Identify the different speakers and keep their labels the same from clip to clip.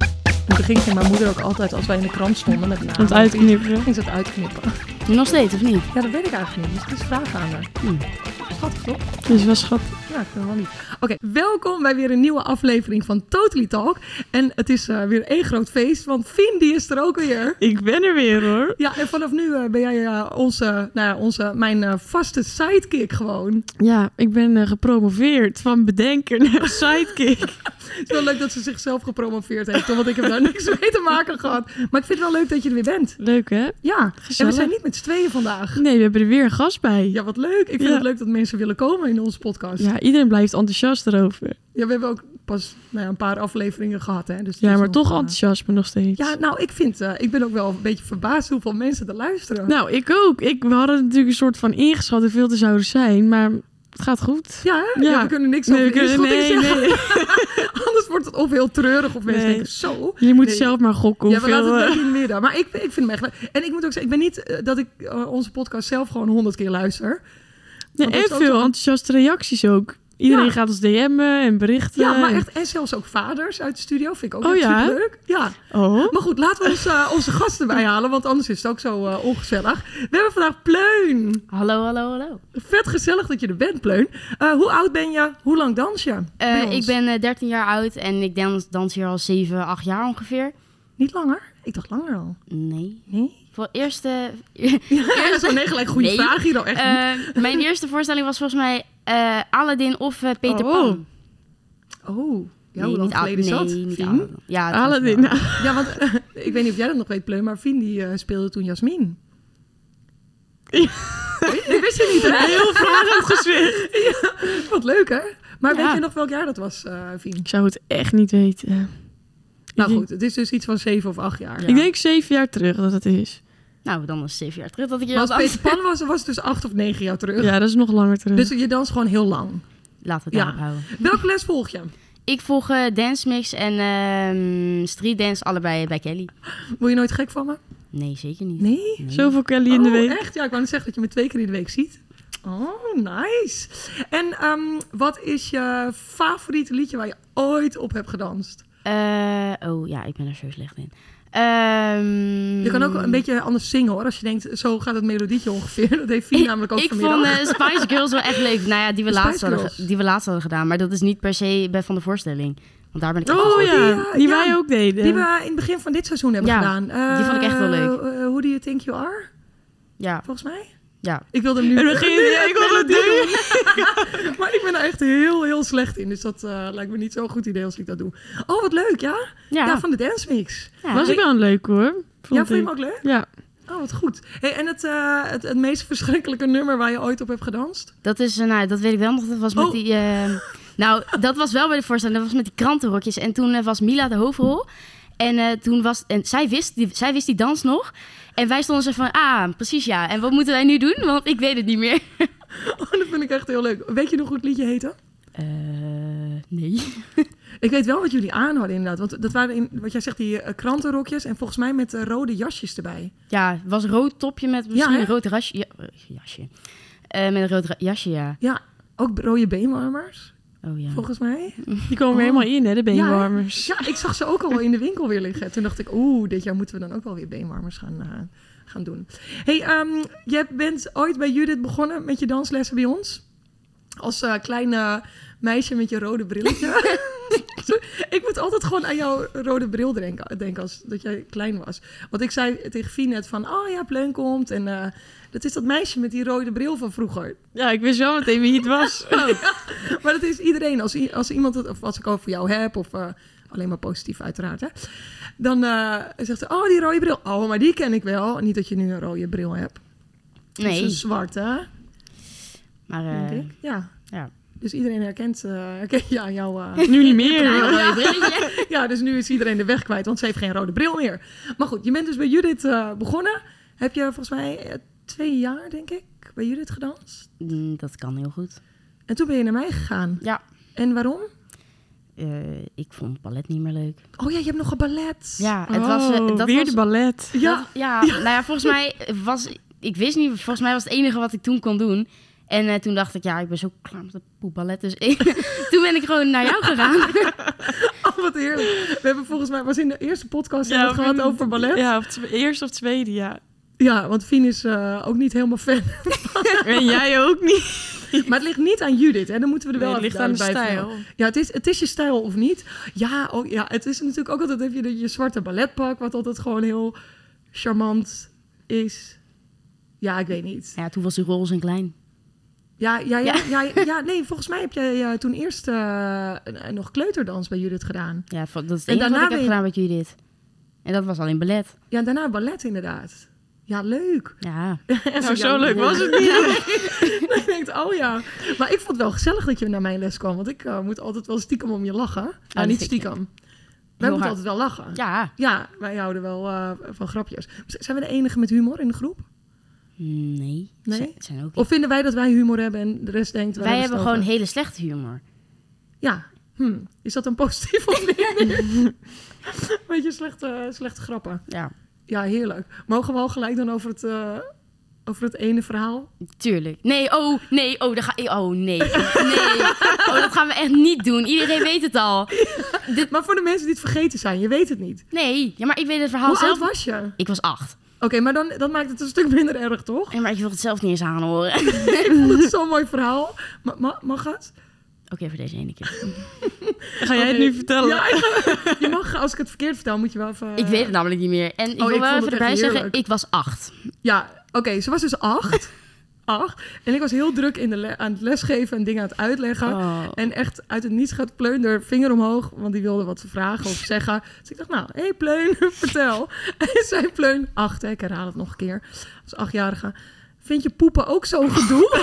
Speaker 1: En toen ging ik mijn moeder ook altijd, als wij in de krant stonden met namen.
Speaker 2: Want uitknippen.
Speaker 1: Ging ze dat uitknippen.
Speaker 3: Nog steeds, of niet?
Speaker 1: Ja, dat weet ik eigenlijk niet. Dus het is vraag aan haar.
Speaker 3: Hmm.
Speaker 1: Schattig, toch?
Speaker 2: Dus was schat.
Speaker 1: Ja, ik vind het wel niet. Oké, welkom bij weer een nieuwe aflevering van Totally Talk. En het is eh, weer één groot feest, want Fien die is er ook weer.
Speaker 2: Ik ben er weer hoor.
Speaker 1: Ja, en vanaf nu eh, ben jij eh, onze, nou ja, onze, mijn eh, vaste sidekick gewoon.
Speaker 2: Ja, ik ben eh, gepromoveerd van bedenker naar sidekick.
Speaker 1: Het is wel leuk dat ze zichzelf gepromoveerd heeft, hoor, want ik heb daar niks mee te maken gehad. Maar ik vind het wel leuk dat je er weer bent.
Speaker 2: Leuk hè?
Speaker 1: Ja, en we
Speaker 2: Gezellig.
Speaker 1: zijn niet met z'n tweeën vandaag.
Speaker 2: Nee, we hebben er weer een gast bij.
Speaker 1: Ja, wat leuk. Ik vind
Speaker 2: Ja.
Speaker 1: het leuk dat mensen willen komen in onze podcast. Ja,
Speaker 2: Ja, iedereen blijft enthousiast erover.
Speaker 1: we hebben ook pas nou ja, een paar afleveringen gehad, hè. Dus het
Speaker 2: Ja,
Speaker 1: is
Speaker 2: maar
Speaker 1: nog,
Speaker 2: toch
Speaker 1: eh,
Speaker 2: enthousiasme nog steeds.
Speaker 1: Ja, nou, ik vind, eh, ik ben ook wel een beetje verbaasd hoeveel mensen er luisteren.
Speaker 2: Nou, ik ook. Ik, we hadden natuurlijk een soort van ingeschat hoeveel er zouden zijn, maar het gaat goed.
Speaker 1: ja, hè?
Speaker 2: ja.
Speaker 1: Ja, we kunnen niks over
Speaker 2: kunnen-
Speaker 1: inschatting
Speaker 2: nee,
Speaker 1: zeggen.
Speaker 2: nee.
Speaker 1: Anders wordt het of heel treurig of mensen
Speaker 2: Nee.
Speaker 1: denken zo.
Speaker 2: Je moet
Speaker 1: Nee.
Speaker 2: zelf maar gokken
Speaker 1: Ja, we
Speaker 2: hoeveel...
Speaker 1: laten het
Speaker 2: eh,
Speaker 1: lekker in het midden. Maar ik, ik vind hem echt leuk. En ik moet ook zeggen, ik ben niet eh, dat ik eh, onze podcast zelf gewoon honderd keer luister.
Speaker 2: nee,
Speaker 1: Want dat
Speaker 2: en
Speaker 1: is
Speaker 2: veel
Speaker 1: ook zo-
Speaker 2: enthousiaste reacties ook. Iedereen
Speaker 1: Ja.
Speaker 2: gaat ons DM'en en berichten.
Speaker 1: Ja, maar
Speaker 2: en-
Speaker 1: echt. En zelfs ook vaders uit de studio vind ik ook
Speaker 2: Oh,
Speaker 1: echt
Speaker 2: ja?
Speaker 1: superleuk. Ja.
Speaker 2: Oh,
Speaker 1: Maar goed, laten we ons, eh, onze gasten bijhalen, want anders is het ook zo eh, ongezellig. We hebben vandaag Pleun.
Speaker 3: Hallo, hallo, hallo.
Speaker 1: Vet gezellig dat je er bent, Pleun. Eh, hoe oud ben je? Hoe lang dans je? bij ons?
Speaker 3: ik ben eh, 13 jaar oud en ik dans, dans hier al 7, 8 jaar ongeveer.
Speaker 1: Niet langer? Ik dacht langer al.
Speaker 3: Nee.
Speaker 1: Nee?
Speaker 3: Voor eerste,
Speaker 1: Ja, dat is wel nee, gelijk goede
Speaker 3: Nee.
Speaker 1: vraag hier al. Echt.
Speaker 3: eh, mijn eerste voorstelling was volgens mij eh Aladdin of eh, Peter
Speaker 2: Oh.
Speaker 3: Pan.
Speaker 1: oh, ja, hoe
Speaker 3: Nee,
Speaker 1: lang
Speaker 3: niet Al-
Speaker 1: geleden is dat? Hm?
Speaker 3: Nee, niet
Speaker 1: Fien?
Speaker 3: Aladdin. Ja, het was
Speaker 2: Aladdin.
Speaker 3: wel-
Speaker 1: Ja, want eh, ik weet niet of jij dat nog weet, Pleun, maar Fien die eh, speelde toen Jasmin.
Speaker 2: Ja.
Speaker 1: Ik wist je niet, hè?
Speaker 2: Heel vragend gezicht.
Speaker 1: Wat leuk, hè? Maar weet
Speaker 2: Ja.
Speaker 1: je nog welk jaar dat was, eh Fien?
Speaker 2: Ik zou het echt niet weten. Ik
Speaker 1: Nou
Speaker 2: denk-
Speaker 1: goed, het is dus iets van zeven of acht jaar.
Speaker 3: Ja.
Speaker 2: Ik denk zeven jaar terug dat het is.
Speaker 3: Nou, dan was 7 jaar terug dat ik hier
Speaker 1: Maar als
Speaker 3: was.
Speaker 1: Peter Pan was, was het dus acht of negen jaar terug.
Speaker 2: Ja, dat is nog langer terug.
Speaker 1: Dus je danst gewoon heel lang.
Speaker 3: Laten we
Speaker 1: Ja.
Speaker 3: het daarop houden.
Speaker 1: Welke les volg je?
Speaker 3: Ik volg eh, Dance Mix en ehm, Street Dance allebei bij Kelly.
Speaker 1: Word je nooit gek van me?
Speaker 3: Nee, zeker niet.
Speaker 1: Nee?
Speaker 3: Nee.
Speaker 2: Zoveel Kelly in de
Speaker 1: Oh,
Speaker 2: week.
Speaker 1: echt? Ja, ik wou net zeggen dat je me twee keer in de week ziet. Oh, nice. En ehm, wat is je favoriete liedje waar je ooit op hebt gedanst?
Speaker 3: Eh, oh ja, ik ben er zo slecht in. Ehm,
Speaker 1: Je kan ook een beetje anders zingen hoor. Als je denkt, zo gaat het melodietje ongeveer. Dat heeft Fien namelijk ook
Speaker 3: ik
Speaker 1: vanmiddag.
Speaker 3: vond eh, Spice Girls wel echt leuk. Nou ja, die we,
Speaker 1: Spice
Speaker 3: laatst hadden,
Speaker 1: Girls.
Speaker 3: ge- die we laatst hadden gedaan. Maar dat is niet per se bij Van de Voorstelling. Want daar ben ik echt
Speaker 2: Oh
Speaker 3: niet
Speaker 2: ja,
Speaker 3: goed
Speaker 2: die,
Speaker 1: die, eh, ja.
Speaker 2: wij ook deden.
Speaker 1: Die we in het begin van dit seizoen hebben
Speaker 3: Ja,
Speaker 1: gedaan. Eh,
Speaker 3: die vond ik echt wel leuk.
Speaker 1: eh, Who Do You Think You Are,
Speaker 3: in. Ja,
Speaker 1: volgens mij.
Speaker 3: ja.
Speaker 1: Ik wilde hem nu...
Speaker 2: En we gingen-
Speaker 1: nu
Speaker 2: ja,
Speaker 1: het
Speaker 2: ik wilde het
Speaker 1: melodie doen. maar ik ben er echt heel, heel slecht in. Dus dat eh, lijkt me niet zo'n goed idee als ik dat doe. Oh, wat leuk, ja?
Speaker 3: Ja,
Speaker 1: van de Dance Mix.
Speaker 3: ja.
Speaker 2: was ook wel een leuk hoor.
Speaker 1: Ja,
Speaker 2: Vond
Speaker 1: vond je hem
Speaker 2: ik.
Speaker 1: ook leuk?
Speaker 2: Ja,
Speaker 1: Oh, wat goed. Hey, en het, eh, het, het meest verschrikkelijke nummer waar je ooit op hebt gedanst?
Speaker 3: Dat is, eh, nou, dat weet ik wel nog. Dat was met
Speaker 1: Oh.
Speaker 3: die. eh, nou, dat was wel bij de voorstelling. Dat was met die krantenrokjes. En toen eh, was Mila de hoofdrol. En eh, toen was. En zij wist, die, zij wist die dans nog. En wij stonden zo van. Ah, precies ja. En wat moeten wij nu doen? Want ik weet het niet meer.
Speaker 1: Oh, dat vind ik echt heel leuk. Weet je nog hoe het liedje heette?
Speaker 3: Eh, nee.
Speaker 1: Ik weet wel wat jullie aan hadden inderdaad. Want dat waren, in, wat jij zegt, die eh, krantenrokjes. En volgens mij met eh, rode jasjes erbij.
Speaker 3: Ja, het was een rood topje met misschien
Speaker 1: hè?
Speaker 3: een rood rasje, ja, eh, jasje. Eh, met een rood ra- jasje, ja.
Speaker 1: Ja, ook rode beenwarmers,
Speaker 3: Oh ja.
Speaker 1: volgens mij.
Speaker 2: die komen weer
Speaker 1: Oh.
Speaker 2: helemaal in hè, de
Speaker 1: Ja, hè?
Speaker 2: beenwarmers.
Speaker 1: Ja, ik zag ze ook al in de winkel weer liggen. Toen dacht ik, oeh, dit jaar moeten we dan ook wel weer beenwarmers gaan, eh, gaan doen. hey, ehm, jij bent ooit bij Judith begonnen met je danslessen bij ons. Als eh kleine meisje met je rode brilletje. Sorry, ik moet altijd gewoon aan jouw rode bril denken, denken als dat jij klein was. Want ik zei tegen Fien net van, oh ja, Pleun komt. En eh, dat is dat meisje met die rode bril van vroeger.
Speaker 2: Ja, ik wist wel meteen wie het was.
Speaker 1: Oh. Maar dat is iedereen. Als, i- als iemand het, of als ik over jou heb, of eh, alleen maar positief uiteraard, hè, dan eh, zegt ze, oh, die rode bril. Oh, maar die ken ik wel. Niet dat je nu een rode bril hebt. Het is
Speaker 3: Nee,
Speaker 1: een zwarte,
Speaker 3: maar... eh,
Speaker 1: denk ik. Ja.
Speaker 3: ja.
Speaker 1: Dus iedereen herkent, eh herkent je aan jou. eh,
Speaker 2: nu niet meer.
Speaker 3: een rode brilletje.
Speaker 1: ja, dus nu is iedereen de weg kwijt, want ze heeft geen rode bril meer. Maar goed, je bent dus bij Judith eh, begonnen. Heb je volgens mij eh, twee jaar, denk ik, bij Judith gedanst.
Speaker 3: Mm, Dat kan heel goed.
Speaker 1: En toen ben je naar mij gegaan.
Speaker 3: Ja.
Speaker 1: En waarom?
Speaker 3: Eh, ik vond het ballet niet meer leuk.
Speaker 1: Oh ja, je hebt nog een ballet.
Speaker 3: Ja, het was... eh,
Speaker 2: Oh,
Speaker 3: dat
Speaker 2: weer
Speaker 3: was-
Speaker 2: de ballet.
Speaker 1: Ja,
Speaker 3: dat- ja, nou ja, volgens mij was... Ik wist niet, volgens mij was het enige wat ik toen kon doen. En eh, toen dacht ik, ja, ik ben zo klaar met dat poepballet. Dus ik- toen ben ik gewoon naar jou gegaan.
Speaker 1: Oh, Wat heerlijk. We hebben volgens mij, was in de eerste podcast hebben we het
Speaker 2: of in-
Speaker 1: gehad over ballet. Ja,
Speaker 2: Ja, of tw- eerst of tweede, ja.
Speaker 1: want Fien is eh, ook niet helemaal fan.
Speaker 2: En jij ook niet.
Speaker 1: Maar het ligt niet aan Judith, hè. Dan moeten we er
Speaker 2: Nee,
Speaker 1: wel
Speaker 2: het ligt
Speaker 1: even
Speaker 2: aan de
Speaker 1: duidelijk bij
Speaker 2: stijl.
Speaker 1: vermelden. Ja, het is, het is je stijl of niet. Ja, ook, ja, het is natuurlijk ook altijd, heb je de- je zwarte balletpak, wat altijd gewoon heel charmant is. Ja, ik weet niet.
Speaker 3: Ja, toen was de rol zijn klein.
Speaker 1: Ja, ja, ja, ja, ja, nee, volgens mij heb jij eh, toen eerst eh, eh, nog kleuterdans bij Judith gedaan.
Speaker 3: Ja, van- dat is het
Speaker 1: En
Speaker 3: enige wat
Speaker 1: daarna
Speaker 3: ik heb
Speaker 1: ben je-
Speaker 3: gedaan met Judith. En dat was alleen ballet.
Speaker 1: Ja, en daarna ballet inderdaad. Ja, leuk.
Speaker 3: Ja.
Speaker 1: En
Speaker 2: Nou, zo leuk was het
Speaker 1: niet. ik denk, oh ja. Maar ik vond het wel gezellig dat je naar mijn les kwam. Want ik eh, moet altijd wel stiekem om je lachen. nou,
Speaker 3: dat
Speaker 1: niet
Speaker 3: vind ik-
Speaker 1: stiekem. Wij moeten
Speaker 3: hard.
Speaker 1: altijd wel lachen.
Speaker 3: Ja.
Speaker 1: Ja, wij houden wel eh, van grapjes. Z- Zijn we de enige met humor in de groep?
Speaker 3: Nee.
Speaker 1: Nee?
Speaker 3: Ze- zijn ook
Speaker 1: Of vinden wij dat wij humor hebben en de rest denkt...
Speaker 3: Wij hebben
Speaker 1: het
Speaker 3: gewoon
Speaker 1: over?
Speaker 3: hele slechte humor.
Speaker 1: Ja. Hm. Is dat een positief of niet? Beetje slechte, slechte grappen.
Speaker 3: Ja,
Speaker 1: Ja, heerlijk. Mogen we al gelijk dan over het, eh, over het ene verhaal?
Speaker 3: tuurlijk. Nee, oh, nee, oh, daar ga ik. Oh, nee. Nee. Oh, dat gaan we echt niet doen. Iedereen weet het al.
Speaker 1: Maar voor de mensen die het vergeten zijn, je weet het niet.
Speaker 3: Nee, ja, maar ik weet het verhaal
Speaker 1: Hoe
Speaker 3: zelf.
Speaker 1: oud was je?
Speaker 3: Ik was acht.
Speaker 1: Oké, maar dan, dat maakt het een stuk minder erg, toch?
Speaker 3: Ja, maar ik wil het zelf niet eens aanhoren. Oké,
Speaker 1: Ik vond het zo'n mooi verhaal. Ma- ma- mag het?
Speaker 3: voor deze ene keer.
Speaker 2: Ga jij het nu vertellen?
Speaker 1: Ja, ik ga- je mag, als ik het verkeerd vertel, moet je wel even...
Speaker 3: Ik weet het namelijk niet meer. En ik
Speaker 1: Oh,
Speaker 3: wil
Speaker 1: ik
Speaker 3: wel
Speaker 1: vond
Speaker 3: even
Speaker 1: het
Speaker 3: erbij
Speaker 1: echt
Speaker 3: zeggen,
Speaker 1: heerlijk.
Speaker 3: ik was acht.
Speaker 1: Ja, oké, ze was dus acht. acht. En ik was heel druk in de le- aan het lesgeven en dingen aan het uitleggen.
Speaker 3: Oh.
Speaker 1: En echt uit het niets gaat Pleun er vinger omhoog, want die wilde wat vragen of zeggen. Dus ik dacht, nou, hé hey Pleun, vertel. En zei Pleun, acht, hè, ik herhaal het nog een keer, als achtjarige. Vind je poepen ook zo'n gedoe?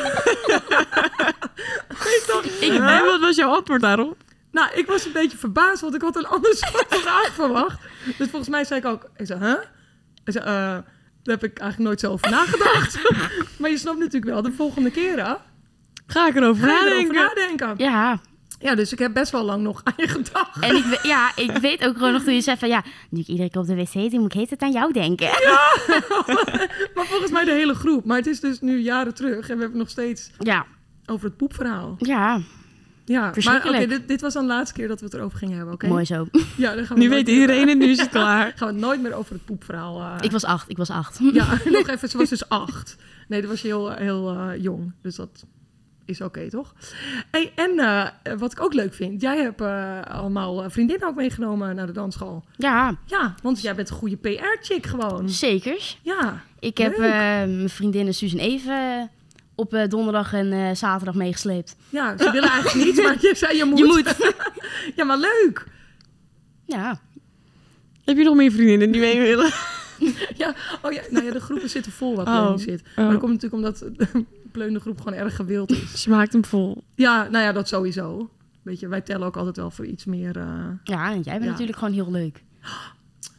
Speaker 2: Ik, en wat was jouw antwoord daarop?
Speaker 1: nou, ik was een beetje verbaasd, want ik had een ander soort vraag verwacht. Dus volgens mij zei ik ook, ik zei, huh? Ik zei, eh, daar heb ik eigenlijk nooit zo over nagedacht. maar je snapt natuurlijk wel, de volgende keren...
Speaker 2: Ga ik
Speaker 1: Ga
Speaker 2: erover
Speaker 1: je erover
Speaker 2: nadenken?
Speaker 1: nadenken. Ja.
Speaker 3: Ja,
Speaker 1: dus ik heb best wel lang nog aan je gedacht.
Speaker 3: en ik, we- ja, ik weet ook gewoon nog toen je zei van... Ja, nu ik iedere keer op de wc zit, moet ik heet het aan jou denken.
Speaker 1: Maar volgens mij de hele groep. Maar het is dus nu jaren terug en we hebben het nog steeds
Speaker 3: Ja,
Speaker 1: over het poepverhaal.
Speaker 3: ja,
Speaker 1: Ja, maar oké,
Speaker 3: Verschrikkelijk.
Speaker 1: dit, dit was dan de laatste keer dat we het erover gingen hebben, oké?
Speaker 3: mooi zo.
Speaker 1: Ja, dan gaan we
Speaker 2: Nu
Speaker 1: nooit
Speaker 2: weet
Speaker 1: meer-
Speaker 2: iedereen het, nu is het klaar.
Speaker 1: gaan we het nooit meer over het poepverhaal. eh.
Speaker 3: Ik was acht, ik was acht.
Speaker 1: Ja, nog even, ze was dus acht. Nee, dat was heel, heel eh, jong, dus dat is oké, toch? Hey, en eh, wat ik ook leuk vind, jij hebt eh, allemaal eh, vriendinnen ook meegenomen naar de dansschool.
Speaker 3: Ja,
Speaker 1: Ja, want jij bent een goede PR-chick gewoon.
Speaker 3: zeker.
Speaker 1: Ja,
Speaker 3: Ik heb
Speaker 1: Leuk.
Speaker 3: eh, mijn vriendinnen Suus en Eve eh, op eh, donderdag en eh, zaterdag meegesleept.
Speaker 1: Ja, ze willen eigenlijk niet, maar je zei je moet.
Speaker 3: Je moet.
Speaker 1: Ja, maar leuk.
Speaker 3: Ja.
Speaker 2: Heb je nog meer vriendinnen die mee willen?
Speaker 1: Ja, oh ja, nou ja, de groepen zitten vol waar
Speaker 2: Oh.
Speaker 1: Pleun nu zit. Maar dat komt natuurlijk omdat de Pleun de groep gewoon erg gewild is.
Speaker 2: Ze maakt hem vol.
Speaker 1: Ja, nou ja, dat sowieso. Weet je, wij tellen ook altijd wel voor iets meer... eh,
Speaker 3: ja, en jij bent
Speaker 1: Ja.
Speaker 3: natuurlijk gewoon heel leuk.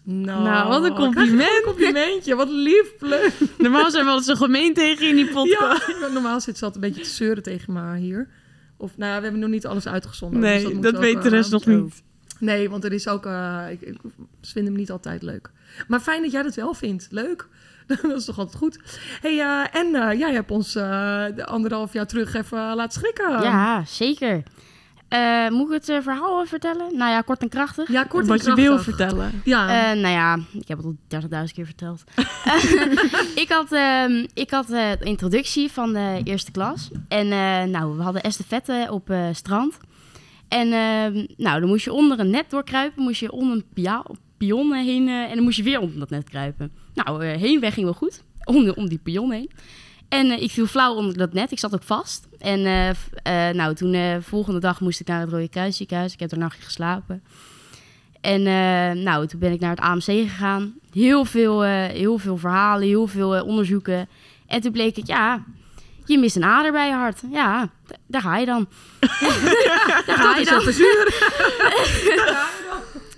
Speaker 1: Nou,
Speaker 2: Nou, wat een compliment.
Speaker 1: Een complimentje, wat lief, Pleun.
Speaker 2: Normaal zijn we altijd zo gemeen tegen je in die podcast.
Speaker 1: Ja, normaal zit ze altijd een beetje te zeuren tegen me hier. Of, nou ja, we hebben nog niet alles uitgezonden. dus
Speaker 2: nee,
Speaker 1: moet
Speaker 2: dat,
Speaker 1: ook,
Speaker 2: weet de
Speaker 1: eh,
Speaker 2: rest nog
Speaker 3: zo.
Speaker 2: niet.
Speaker 1: Nee, want er is ook. eh, ik, ik ze vinden hem niet altijd leuk. Maar fijn dat jij dat wel vindt. Leuk. dat is toch altijd goed. Hey, eh, en eh, jij hebt ons eh, de anderhalf jaar terug even eh, laten schrikken.
Speaker 3: Ja, zeker. Eh, moet ik het eh, verhaal wel vertellen? Nou ja, kort en krachtig.
Speaker 1: ja kort en
Speaker 2: Wat je wil
Speaker 1: krachtig.
Speaker 2: vertellen.
Speaker 1: Ja.
Speaker 3: Eh, nou ja, ik heb het al 30.000 keer verteld. ik had, ehm, ik had eh, de introductie van de eerste klas. En eh, nou, we hadden estafette op eh, strand. En ehm, nou, dan moest je onder een net doorkruipen. Moest je onder een pia- pion heen. eh, en dan moest je weer onder dat net kruipen. Nou, eh, heenweg ging wel goed. Om, de- om die pion heen. En eh, ik viel flauw onder dat net. Ik zat ook vast. En eh, f- eh, nou, toen eh volgende dag moest ik naar het Rode Kruis ziekenhuis. Ik heb er een nachtje geslapen. En eh, nou, toen ben ik naar het AMC gegaan. Heel veel, eh, heel veel verhalen, heel veel eh, onderzoeken. En toen bleek ik, ja, je mist een ader bij je hart. Ja, d- daar ga je dan. daar
Speaker 1: dat
Speaker 3: ga je
Speaker 1: is
Speaker 3: dan.
Speaker 1: even zuur.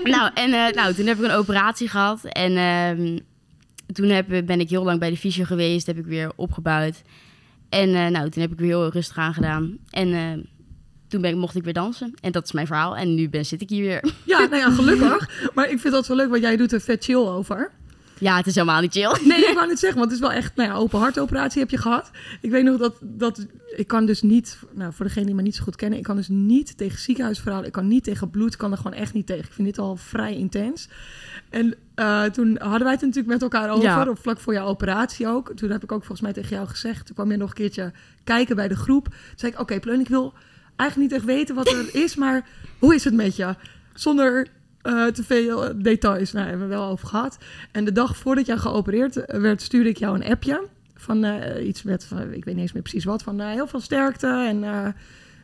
Speaker 3: Nou, en eh, nou, toen heb ik een operatie gehad. En ehm, toen heb, eh, ben ik heel lang bij de fysio geweest. Heb ik weer opgebouwd. En eh, nou, toen heb ik weer heel rustig aan gedaan. En eh, toen ben ik, mocht ik weer dansen. En dat is mijn verhaal. En nu ben, zit ik hier weer.
Speaker 1: Ja, nou ja, gelukkig. Maar ik vind dat zo leuk, want jij doet er vet chill over.
Speaker 3: Ja, het is helemaal niet chill.
Speaker 1: Oh, Nee, ik wou niet zeggen, want het is wel echt, nou ja, open hartoperatie heb je gehad. Ik weet nog dat, dat ik kan dus niet, nou voor degene die me niet zo goed kennen, ik kan dus niet tegen ziekenhuisverhalen, ik kan niet tegen bloed, ik kan er gewoon echt niet tegen. Ik vind dit al vrij intens. En eh, toen hadden wij het er natuurlijk met elkaar over,
Speaker 3: Ja.
Speaker 1: op vlak voor jouw operatie ook. Toen heb ik ook volgens mij tegen jou gezegd, toen kwam je nog een keertje kijken bij de groep. Toen zei ik, oké Pleun, ik wil eigenlijk niet echt weten wat er is, maar hoe is het met je? Zonder eh, te veel eh, details. Nou, hebben we wel over gehad. En de dag voordat jij geopereerd eh, werd, stuurde ik jou een appje. Van eh, iets met, van, ik weet niet eens meer precies wat, van eh, heel veel sterkte. En eh,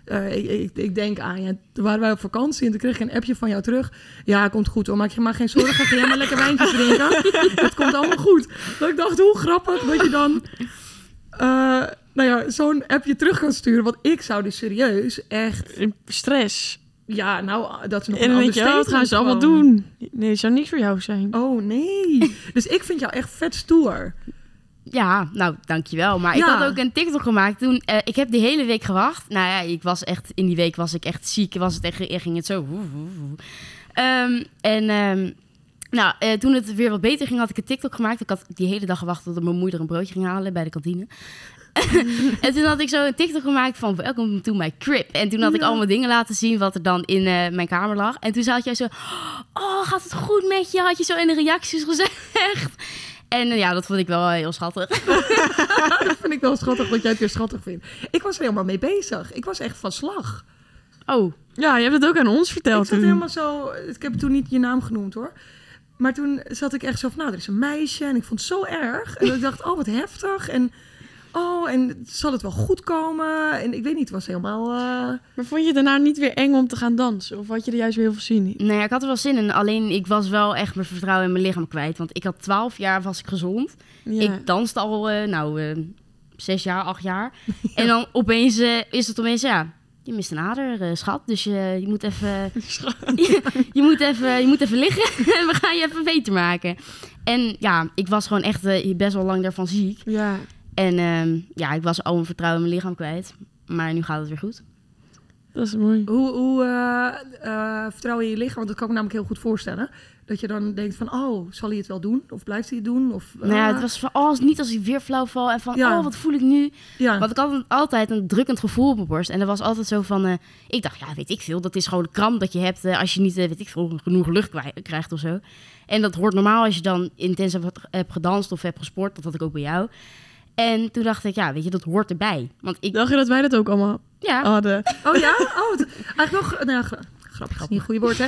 Speaker 1: eh, ik, ik, ik denk aan je. Toen waren wij op vakantie en toen kreeg ik een appje van jou terug. Ja, komt goed hoor, maak je maar geen zorgen. Ga jij maar lekker wijntjes drinken. Het komt allemaal goed. Dat ik dacht, hoe grappig dat je dan... eh, nou ja, zo'n appje terug kan sturen. Want ik zou dus serieus echt...
Speaker 2: Stress.
Speaker 1: Ja, nou, dat is nog
Speaker 2: en
Speaker 1: een
Speaker 2: dan denk
Speaker 1: ander
Speaker 2: je, oh, wat gaan ze allemaal doen? Nee, het zou niks voor jou zijn.
Speaker 1: Oh nee. Dus ik vind jou echt vet stoer.
Speaker 3: Ja, nou, dankjewel. Maar ik
Speaker 1: Ja.
Speaker 3: had ook een TikTok gemaakt toen. eh, ik heb die hele week gewacht. Nou ja, ik was echt, in die week was ik echt ziek. Was het echt, ging het zo. woe, woe, woe. Ehm, en ehm, nou, eh, toen het weer wat beter ging, had ik een TikTok gemaakt. Ik had die hele dag gewacht tot mijn moeder een broodje ging halen bij de kantine. en toen had ik zo een TikTok gemaakt van welkom to my crib. En toen had ik allemaal dingen laten zien wat er dan in eh, mijn kamer lag. En toen had jij zo, oh, gaat het goed met je? Had je zo in de reacties gezegd. En eh, ja, dat vond ik wel eh, heel schattig.
Speaker 1: Dat vind ik wel schattig dat jij het weer schattig vindt. Ik was er helemaal mee bezig. Ik was echt van slag.
Speaker 3: Oh,
Speaker 2: Ja, je hebt het ook aan ons verteld
Speaker 1: ik zat
Speaker 2: toen.
Speaker 1: helemaal zo... Ik heb toen niet je naam genoemd hoor. Maar toen zat ik echt zo van, nou, er is een meisje. En ik vond het zo erg. En ik dacht, oh, wat heftig. En oh, en zal het wel goed komen? En ik weet niet, het was helemaal... eh,
Speaker 2: Maar vond je het daarna niet weer eng om te gaan dansen? Of had je er juist weer heel veel zin in?
Speaker 3: nou ja, ik had er wel zin in. Alleen ik was wel echt mijn vertrouwen in mijn lichaam kwijt. Want ik had 12 jaar was ik gezond.
Speaker 2: Ja.
Speaker 3: Ik danste al, eh, nou, eh, zes jaar, acht jaar. En dan opeens eh, is het opeens, ja, je mist een ader, eh, schat. Dus je, je moet even... je, je moet even, je moet even liggen en we gaan je even beter maken. En ja, ik was gewoon echt eh, best wel lang daarvan ziek.
Speaker 2: ja.
Speaker 3: En ehm, ja, ik was al mijn vertrouwen in mijn lichaam kwijt. Maar nu gaat het weer goed.
Speaker 2: Dat is mooi.
Speaker 1: Hoe, hoe eh, eh, vertrouw je je lichaam? Want dat kan ik me namelijk heel goed voorstellen. Dat je dan denkt van, oh, zal hij het wel doen? Of blijft hij het doen? Of, eh,
Speaker 3: Nou ja, het was van, oh, niet als ik weer flauw val. En van,
Speaker 1: Ja.
Speaker 3: oh, wat voel ik nu?
Speaker 1: ja.
Speaker 3: Want ik had een- altijd een drukkend gevoel op mijn borst. En dat was altijd zo van... eh, ik dacht, ja, weet ik veel. Dat is gewoon een kramp dat je hebt eh, als je niet, eh, weet ik veel, genoeg lucht kwij- krijgt of zo. En dat hoort normaal als je dan intens hebt, hebt gedanst of hebt gesport. Dat had ik ook bij jou. En toen dacht ik, ja, weet je, dat hoort erbij. Want ik...
Speaker 2: Dacht je dat wij dat ook allemaal
Speaker 3: Ja,
Speaker 2: hadden?
Speaker 1: Oh ja? Oh, het, eigenlijk wel... gra- Nou, ja, gra- grappig is niet een goede woord, hè?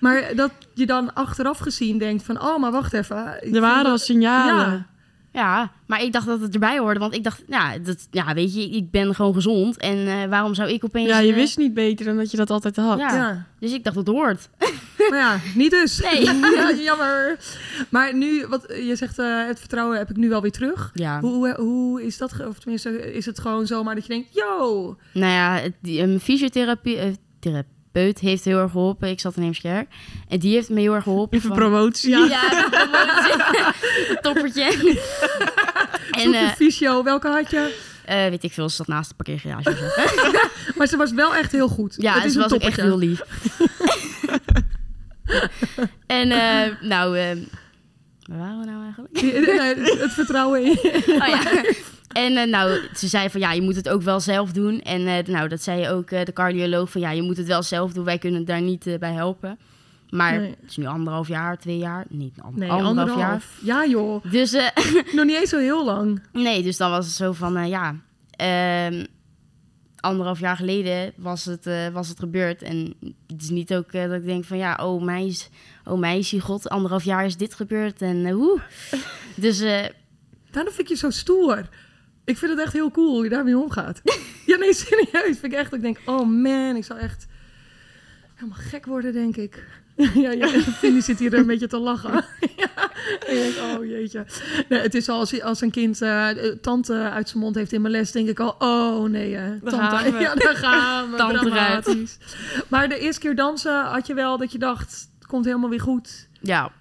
Speaker 1: Maar dat je dan achteraf gezien denkt van... Oh, maar wacht even. ik
Speaker 2: Er waren
Speaker 1: voel-
Speaker 2: al signalen.
Speaker 1: Ja.
Speaker 3: ja, maar ik dacht dat het erbij hoorde. Want ik dacht, ja, dat, ja weet je, ik ben gewoon gezond. En eh, waarom zou ik opeens...
Speaker 2: Ja, je
Speaker 3: eh,
Speaker 2: wist niet beter dan dat je dat altijd had.
Speaker 3: Ja.
Speaker 1: Ja.
Speaker 3: dus ik dacht, dat hoort.
Speaker 1: maar ja, niet dus.
Speaker 3: Nee.
Speaker 1: Ja, jammer. Maar nu, wat je zegt, eh, het vertrouwen heb ik nu wel weer terug.
Speaker 3: Ja.
Speaker 1: Hoe, hoe is dat? ge- Of tenminste, is het gewoon zomaar dat je denkt... Yo!
Speaker 3: Nou ja, het- die, eh, mijn fysiotherapie... eh, therapeut heeft heel erg geholpen. Ik zat in Heemskerk. En die heeft me heel erg geholpen.
Speaker 2: Even
Speaker 3: van-
Speaker 2: promotie.
Speaker 3: Ja, dat was- toppertje. en
Speaker 1: Zoek een fysio, welke had je?
Speaker 3: eh, eh, weet ik veel, ze zat naast de parkeergarage. of zo.
Speaker 1: Maar ze was wel echt heel goed.
Speaker 3: Ja,
Speaker 1: het
Speaker 3: en
Speaker 1: is
Speaker 3: ze
Speaker 1: een
Speaker 3: was ook echt
Speaker 1: toppertje.
Speaker 3: heel lief. en eh, nou, eh, waar waren we nou eigenlijk?
Speaker 1: Nee, het vertrouwen in.
Speaker 3: Oh ja. En eh, nou, ze zei van ja, je moet het ook wel zelf doen. En eh, nou, dat zei ook eh, de cardioloog van ja, je moet het wel zelf doen. Wij kunnen daar niet eh, bij helpen. Maar
Speaker 1: Nee.
Speaker 3: het is nu anderhalf jaar, twee jaar. Niet ander-
Speaker 1: Nee,
Speaker 3: anderhalf,
Speaker 1: anderhalf. Ja joh,
Speaker 3: jaar. Dus eh,
Speaker 1: nog niet eens zo heel lang.
Speaker 3: Nee, dus dan was het zo van, eh, ja, ehm, anderhalf jaar geleden was het, eh, was het gebeurd. En het is niet ook eh, dat ik denk van, ja, oh meis, oh meisje, god, anderhalf jaar is dit gebeurd. En eh, hoe? Dus eh,
Speaker 1: Daarom vind ik je zo stoer. Ik vind het echt heel cool hoe je daarmee omgaat. ja, nee, serieus. Vind ik echt dat ik denk, oh man, ik zou echt helemaal gek worden, denk ik. ja, ja, Vinnie zit hier een beetje te lachen. ja, en je denkt, oh jeetje. Nee, het is al als, als een kind eh tante uit zijn mond heeft in mijn les, denk ik al, oh nee, hè,
Speaker 2: Daar
Speaker 1: tante.
Speaker 2: gaan we.
Speaker 1: Ja, daar gaan we.
Speaker 3: Tante eruit.
Speaker 1: dramatisch. Maar de eerste keer dansen had je wel dat je dacht, het komt helemaal weer goed.
Speaker 3: ja,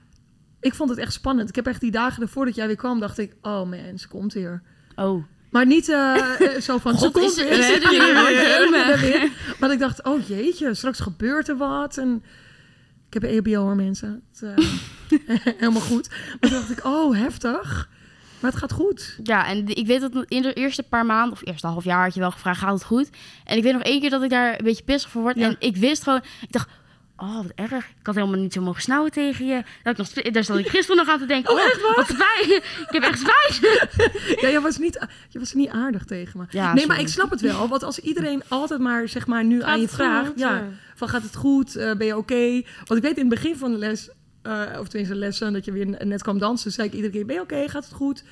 Speaker 1: Ik vond het echt spannend. Ik heb echt die dagen ervoor dat jij weer kwam, dacht ik, oh man, ze komt weer.
Speaker 3: oh.
Speaker 1: Maar niet eh, eh, zo van, ze
Speaker 3: God,
Speaker 1: komt
Speaker 3: is ze-
Speaker 1: weer,
Speaker 3: is ze
Speaker 1: ze
Speaker 3: er
Speaker 1: komt
Speaker 3: weer?
Speaker 1: weer,
Speaker 3: Jemig.
Speaker 1: ze komt er weer. Maar ik dacht, oh jeetje, straks gebeurt er wat. En Ik heb EHBO hoor mensen. Het, eh, helemaal goed. Maar toen dacht ik, oh heftig. Maar het gaat goed.
Speaker 3: Ja, en de- ik weet dat in de eerste paar maanden, of eerste half jaar, had je wel gevraagd, gaat het goed? En ik weet nog één keer dat ik daar een beetje pissig voor word.
Speaker 1: Ja.
Speaker 3: En ik wist gewoon, ik dacht, oh, wat erg. Ik had helemaal niet zo mogen snauwen tegen je. Dat ik nog, sp- daar zat ik gisteren nog aan te denken, oh, wat spijt. ik heb echt spijt.
Speaker 1: Ja, je was niet, je was niet aardig tegen me.
Speaker 3: Ja,
Speaker 1: nee, maar
Speaker 3: sorry.
Speaker 1: ik snap het wel. Want als iedereen altijd maar, zeg maar, nu aan je
Speaker 2: het goed?
Speaker 1: vraagt... ja,
Speaker 2: Ja.
Speaker 1: van gaat het goed? Eh, ben je oké? Want ik weet in het begin van de les... eh, of tenminste de lessen, dat je weer ne- net kwam dansen... zei ik iedere keer, ben je oké? Gaat het goed?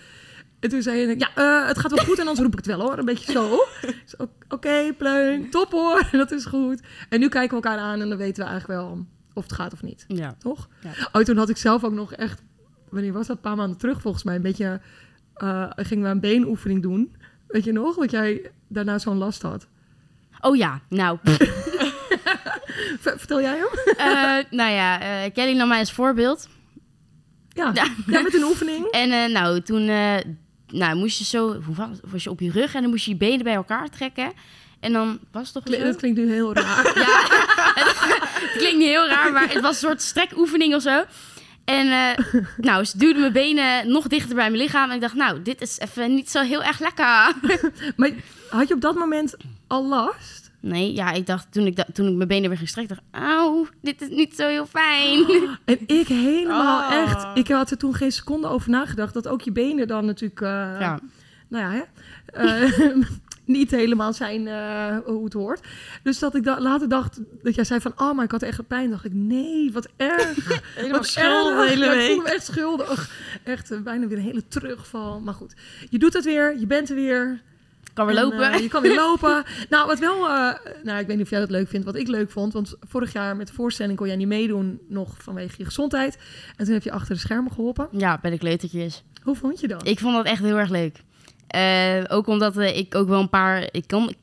Speaker 1: En toen zei je, ja, eh, het gaat wel goed. En anders roep ik het wel hoor, een beetje zo. Dus ook, oké, pleun, top hoor, dat is goed. En nu kijken we elkaar aan en dan weten we eigenlijk wel... of het gaat of niet
Speaker 3: Ja.
Speaker 1: toch?
Speaker 3: Ja.
Speaker 1: Oh, toen had ik zelf ook nog echt, wanneer was dat? Een paar maanden terug volgens mij. Een beetje, eh, gingen we een beenoefening doen. Weet je nog? Dat jij daarna zo'n last had.
Speaker 3: Oh ja, nou.
Speaker 1: V- vertel jij hem?
Speaker 3: Eh, nou ja, eh, Kelly nam mij als voorbeeld.
Speaker 1: Ja.
Speaker 3: Ja.
Speaker 1: ja. met een oefening.
Speaker 3: En eh, nou, toen eh, nou, moest je zo, hoe was, was je op je rug en dan moest je je benen bij elkaar trekken. En dan was het toch
Speaker 1: Kli-
Speaker 3: zo?
Speaker 1: dat klinkt nu heel raar.
Speaker 3: Ja, het klinkt niet heel raar, maar het was een soort strekoefening of zo. En eh, nou, ze duwde mijn benen nog dichter bij mijn lichaam. En ik dacht, nou, dit is even niet zo heel erg lekker.
Speaker 1: Maar had je op dat moment al last?
Speaker 3: Nee, ja, ik dacht toen ik, da- toen ik mijn benen weer ging strekken, dacht ik, auw, dit is niet zo heel fijn.
Speaker 1: En ik helemaal
Speaker 3: Ah.
Speaker 2: Oh.
Speaker 1: echt. Ik had er toen geen seconde over nagedacht. Dat ook je benen dan natuurlijk. eh,
Speaker 3: Ja,
Speaker 1: nou ja, hè? Eh, niet helemaal zijn eh, hoe het hoort. Dus dat ik da- later dacht dat jij zei van, oh, maar ik had echt pijn. dacht ik, nee, wat erg.
Speaker 2: Helemaal
Speaker 1: wat
Speaker 2: schuld de
Speaker 1: erg.
Speaker 2: hele
Speaker 1: Ja, ik voel
Speaker 2: week.
Speaker 1: me echt schuldig. Echt eh, bijna weer een hele terugval. Maar goed, je doet het weer, je bent er weer.
Speaker 3: kan weer
Speaker 1: En,
Speaker 3: lopen.
Speaker 1: eh, je kan weer lopen. nou, wat wel, eh, nou, ik weet niet of jij dat leuk vindt, wat ik leuk vond. Want vorig jaar met de voorstelling kon jij niet meedoen, nog vanwege je gezondheid. En toen heb je achter de schermen geholpen.
Speaker 3: Ja, bij de kleutertjes.
Speaker 1: Hoe vond je dat?
Speaker 3: Ik vond dat echt heel erg leuk. Eh, ook omdat eh, ik ook wel een paar... Ik kon, ik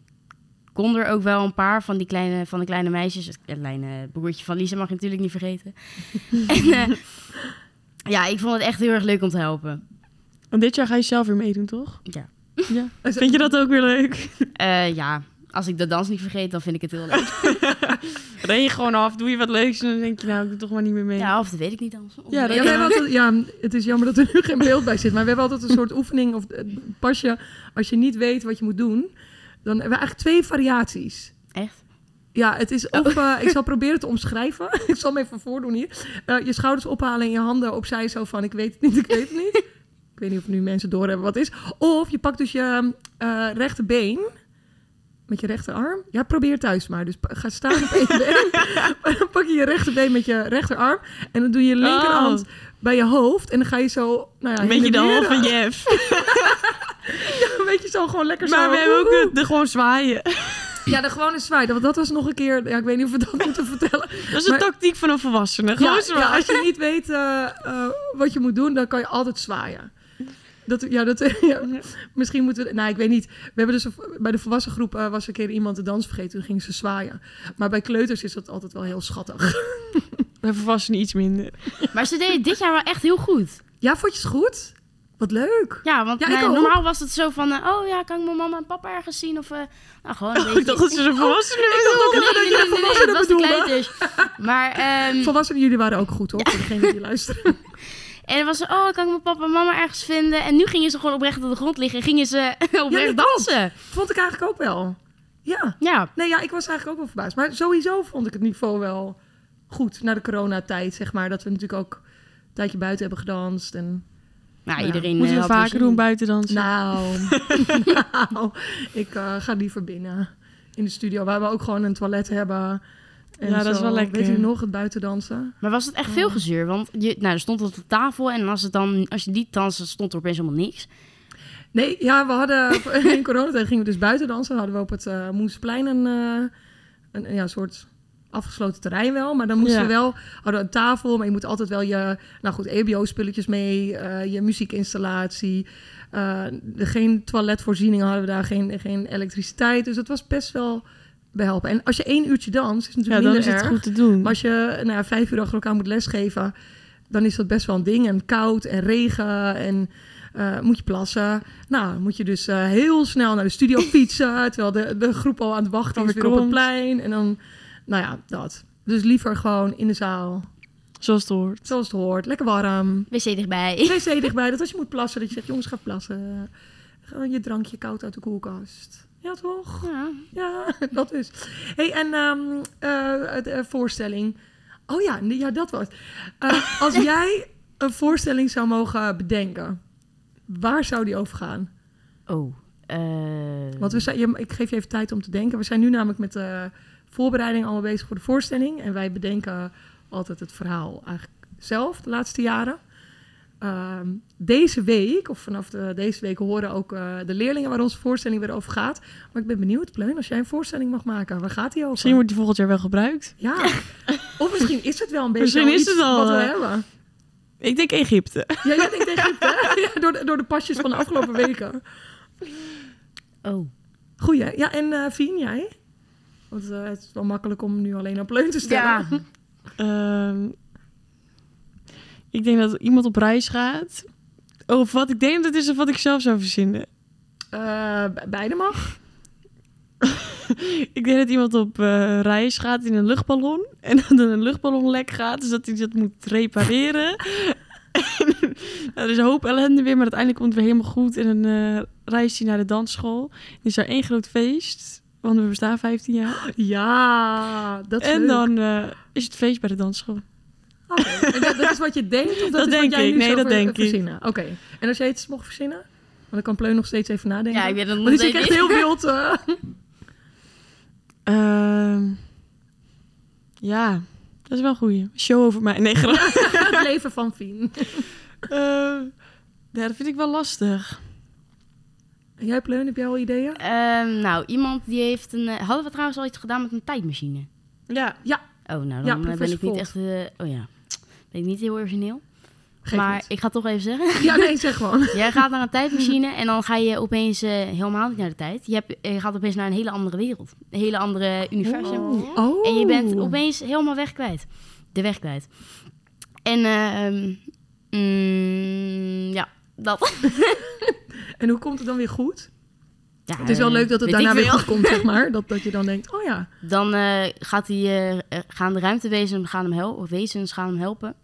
Speaker 3: kon er ook wel een paar van die kleine, van de kleine meisjes. Het kleine broertje van Lisa mag je natuurlijk niet vergeten. en, eh, ja, ik vond het echt heel erg leuk om te helpen.
Speaker 2: Want dit jaar ga je zelf weer meedoen, toch?
Speaker 3: Ja.
Speaker 2: ja. Vind je dat ook weer leuk?
Speaker 3: Eh, ja, als ik de dans niet vergeet, dan vind ik het heel leuk.
Speaker 2: Ren je gewoon af, doe je wat leuks en dan denk je, nou, ik doe toch maar niet meer mee.
Speaker 3: Ja, of dat weet ik niet dan.
Speaker 2: Ja, dat-
Speaker 1: Ja, we hebben altijd- ja, het is jammer dat er nu geen beeld bij zit. Maar we hebben altijd een soort oefening of eh, pasje. Als je niet weet wat je moet doen, dan hebben we eigenlijk twee variaties.
Speaker 3: Echt?
Speaker 1: Ja, het is
Speaker 2: Oh.
Speaker 1: of... eh, ik zal proberen te omschrijven. ik zal hem even voordoen hier. Eh, je schouders ophalen en je handen opzij zo van... ik weet het niet, ik weet het niet. ik weet niet of nu mensen doorhebben wat het is. Of je pakt dus je eh, rechterbeen... Met je rechterarm? Ja, probeer thuis maar. Dus pa- ga staan op één been. Dan pak je je rechterbeen met je rechterarm. En dan doe je je linkerhand
Speaker 2: Oh.
Speaker 1: bij je hoofd. En dan ga je zo... Nou ja,
Speaker 2: Een beetje
Speaker 1: heen
Speaker 2: de
Speaker 1: en weer.
Speaker 2: hand van Jeff.
Speaker 1: Een beetje zo gewoon lekker zo.
Speaker 2: Maar we hebben ook het, de gewoon zwaaien.
Speaker 1: Ja, de gewone zwaai. Want dat was nog een keer... Ja, ik weet niet of we dat moeten vertellen.
Speaker 2: Dat is een
Speaker 1: Maar-
Speaker 2: tactiek van een volwassene. Gewoon
Speaker 1: ja, ja,
Speaker 2: zwaaien.
Speaker 1: als je niet weet eh, eh, wat je moet doen, dan kan je altijd zwaaien. Dat, ja, dat, ja. Misschien moeten we... Nou, ik weet niet. We hebben dus een- bij de volwassen groep eh, was een keer iemand de dans vergeten. Toen gingen ze zwaaien. Maar bij kleuters is dat altijd wel heel schattig.
Speaker 2: Bij volwassenen iets minder.
Speaker 3: Maar ze deden dit jaar wel echt heel goed.
Speaker 1: Ja, vond je het goed? Wat leuk.
Speaker 3: Ja, want
Speaker 1: Ja, ik
Speaker 3: eh,
Speaker 1: ook.
Speaker 3: normaal was het zo van... eh, oh ja, kan ik mijn mama en papa ergens zien? Of eh, nou, gewoon een beetje...
Speaker 2: Ik dacht Oh, dat ze de volwassenen bedoelden.
Speaker 3: Nee, nee, nee, nee, nee,
Speaker 1: volwassenen
Speaker 3: het was de
Speaker 1: bedoelde.
Speaker 3: kleintjes. Maar, ehm,
Speaker 1: Volwassenen, jullie waren ook goed, hoor. Voor degene die luisteren.
Speaker 3: en dan was ze, oh, kan ik mijn papa en mama ergens vinden? En nu gingen ze gewoon oprecht op de grond liggen en gingen ze oprecht
Speaker 1: dat klopt.
Speaker 3: dansen.
Speaker 1: Vond ik eigenlijk ook wel. Ja.
Speaker 3: Ja,
Speaker 1: Nee, ja, ik was eigenlijk ook wel verbaasd. Maar sowieso vond ik het niveau wel goed. Na de coronatijd, zeg maar. Dat we natuurlijk ook een tijdje buiten hebben gedanst. En
Speaker 3: nou,
Speaker 1: Ja,
Speaker 3: iedereen
Speaker 2: Moeten
Speaker 3: eh,
Speaker 2: we
Speaker 3: had
Speaker 2: vaker
Speaker 3: er
Speaker 2: doen
Speaker 3: zin
Speaker 2: buiten dansen?
Speaker 1: Nou, nou, ik eh, ga liever binnen in de studio, waar we ook gewoon een toilet hebben. En
Speaker 2: Ja, dat is
Speaker 1: zo.
Speaker 2: wel lekker.
Speaker 1: Weet je nog, het buitendansen?
Speaker 3: in. Maar was het echt veel gezeur? Want je, nou, er stond op de tafel en als, het dan, als je die dansen, stond er opeens helemaal niks.
Speaker 1: Nee, ja, we hadden in coronatijd gingen we dus buitendansen. Dan hadden we op het eh Moesplein een, eh, een ja, soort afgesloten terrein wel. Maar dan moesten
Speaker 2: Ja.
Speaker 1: we wel, hadden we een tafel, maar je moet altijd wel je, nou goed, EBO-spulletjes mee, eh, je muziekinstallatie. eh, de, geen toiletvoorzieningen hadden we daar, geen, geen elektriciteit. Dus dat was best wel behelpen. En als je één uurtje danst, is het
Speaker 2: ja,
Speaker 1: natuurlijk
Speaker 2: dan is
Speaker 1: minder
Speaker 2: het
Speaker 1: erg.
Speaker 2: goed te doen.
Speaker 1: Maar als je nou ja, vijf uur achter elkaar moet lesgeven, dan is dat best wel een ding. En koud en regen en eh, moet je plassen. Nou, dan moet je dus eh, heel snel naar de studio fietsen, terwijl de, de groep al aan het wachten
Speaker 2: Dan
Speaker 1: is
Speaker 2: weer
Speaker 1: weer op het
Speaker 2: komt.
Speaker 1: plein. En dan, nou ja, dat. Dus liever gewoon in de zaal
Speaker 2: Zoals het hoort.
Speaker 1: Zoals het hoort. Lekker warm.
Speaker 3: Wc dichtbij.
Speaker 1: Wc dichtbij. Dat als je moet plassen, dat je zegt, jongens, ga plassen. Gewoon je drankje koud uit de koelkast. Ja, toch?
Speaker 3: Ja.
Speaker 1: Ja, dat is. hey, en ehm, eh, de voorstelling. Oh ja, nee, ja dat was. het. Eh, als jij een voorstelling zou mogen bedenken, waar zou die over gaan?
Speaker 3: Oh. eh,
Speaker 1: Want we zijn, je- ik geef je even tijd om te denken. We zijn nu namelijk met de voorbereiding allemaal bezig voor de voorstelling. En wij bedenken altijd het verhaal eigenlijk zelf de laatste jaren. Ehm, deze week, of vanaf de- deze week, horen ook eh, de leerlingen waar onze voorstelling weer over gaat. Maar ik ben benieuwd, Pleun, als jij een voorstelling mag maken, waar gaat die over?
Speaker 2: Misschien wordt die volgend jaar wel gebruikt.
Speaker 1: Ja, of misschien is het wel een beetje
Speaker 2: Misschien
Speaker 1: al
Speaker 2: is
Speaker 1: iets
Speaker 2: het al,
Speaker 1: wat we
Speaker 2: eh,
Speaker 1: hebben.
Speaker 2: Ik denk Egypte.
Speaker 1: Ja, ja, ik denk het, hè? Ja, door, de, door de pasjes van de afgelopen weken.
Speaker 3: Oh.
Speaker 1: Goeie. hè? Ja, en eh Fien, jij? Want eh, het is wel makkelijk om nu alleen aan pleun te stellen.
Speaker 3: Ja.
Speaker 2: Ehm, ik denk dat iemand op reis gaat. Oh, Of wat ik denk dat is of wat ik zelf zou verzinnen.
Speaker 1: Eh, be- beide mag.
Speaker 2: Ik denk dat iemand op eh, reis gaat in een luchtballon. En dat er een luchtballon lek gaat. Dus dat hij dat moet repareren. En, nou, er is een hoop ellende weer. Maar uiteindelijk komt het weer helemaal goed. En dan eh, reist hij naar de dansschool. Dan is er één groot feest. Want we bestaan 15 jaar.
Speaker 1: Ja, dat is
Speaker 2: En
Speaker 1: Oh, leuk.
Speaker 2: dan eh, is het feest bij de dansschool.
Speaker 1: Oké. En dat, dat is wat je denkt? Of dat,
Speaker 2: Dat
Speaker 1: is
Speaker 2: denk
Speaker 1: wat jij
Speaker 2: ik.
Speaker 1: nu
Speaker 2: Nee,
Speaker 1: zou
Speaker 2: dat
Speaker 1: ver-
Speaker 2: denk ik.
Speaker 1: verzinnen? Oké. En als jij iets mocht verzinnen? Want dan kan Pleun nog steeds even nadenken.
Speaker 3: Ja, ik weet het nog
Speaker 1: Want die is
Speaker 3: steeds
Speaker 1: echt heel wild. eh.
Speaker 2: Ehm, ja, dat is wel een goeie. Show over mij. Nee, grap.
Speaker 1: het leven van Fien.
Speaker 2: Ehm, ja, dat vind ik wel lastig.
Speaker 1: En jij Pleun, heb jij al ideeën?
Speaker 3: Ehm, nou, iemand die heeft een... eh, hadden we trouwens al iets gedaan met een tijdmachine?
Speaker 2: Ja.
Speaker 3: Oh, nou,
Speaker 1: Ja,
Speaker 3: dan eh, ben
Speaker 1: Professor
Speaker 3: ik niet echt... eh, oh ja. Ben ik niet heel origineel.
Speaker 1: Geef
Speaker 3: maar
Speaker 1: niet.
Speaker 3: ik ga het toch even zeggen.
Speaker 1: Ja, nee, zeg gewoon.
Speaker 3: Jij gaat naar een tijdmachine en dan ga je opeens eh, helemaal niet naar de tijd. Je, hebt, eh, je gaat opeens naar een hele andere wereld. Een hele andere universum.
Speaker 1: Oh.
Speaker 3: En je bent opeens helemaal weg kwijt. De weg kwijt. En eh, ehm, mm, ja, dat.
Speaker 1: En hoe komt het dan weer goed?
Speaker 3: Ja,
Speaker 1: Het is wel
Speaker 3: eh,
Speaker 1: leuk dat het
Speaker 3: weet
Speaker 1: daarna
Speaker 3: ik
Speaker 1: weer
Speaker 3: veel.
Speaker 1: goed komt, zeg maar. Dat, dat je dan denkt, oh ja.
Speaker 3: Dan eh, gaat die, eh, eh, gaan de ruimtewezens gaan hem, hel- of wezens gaan hem helpen.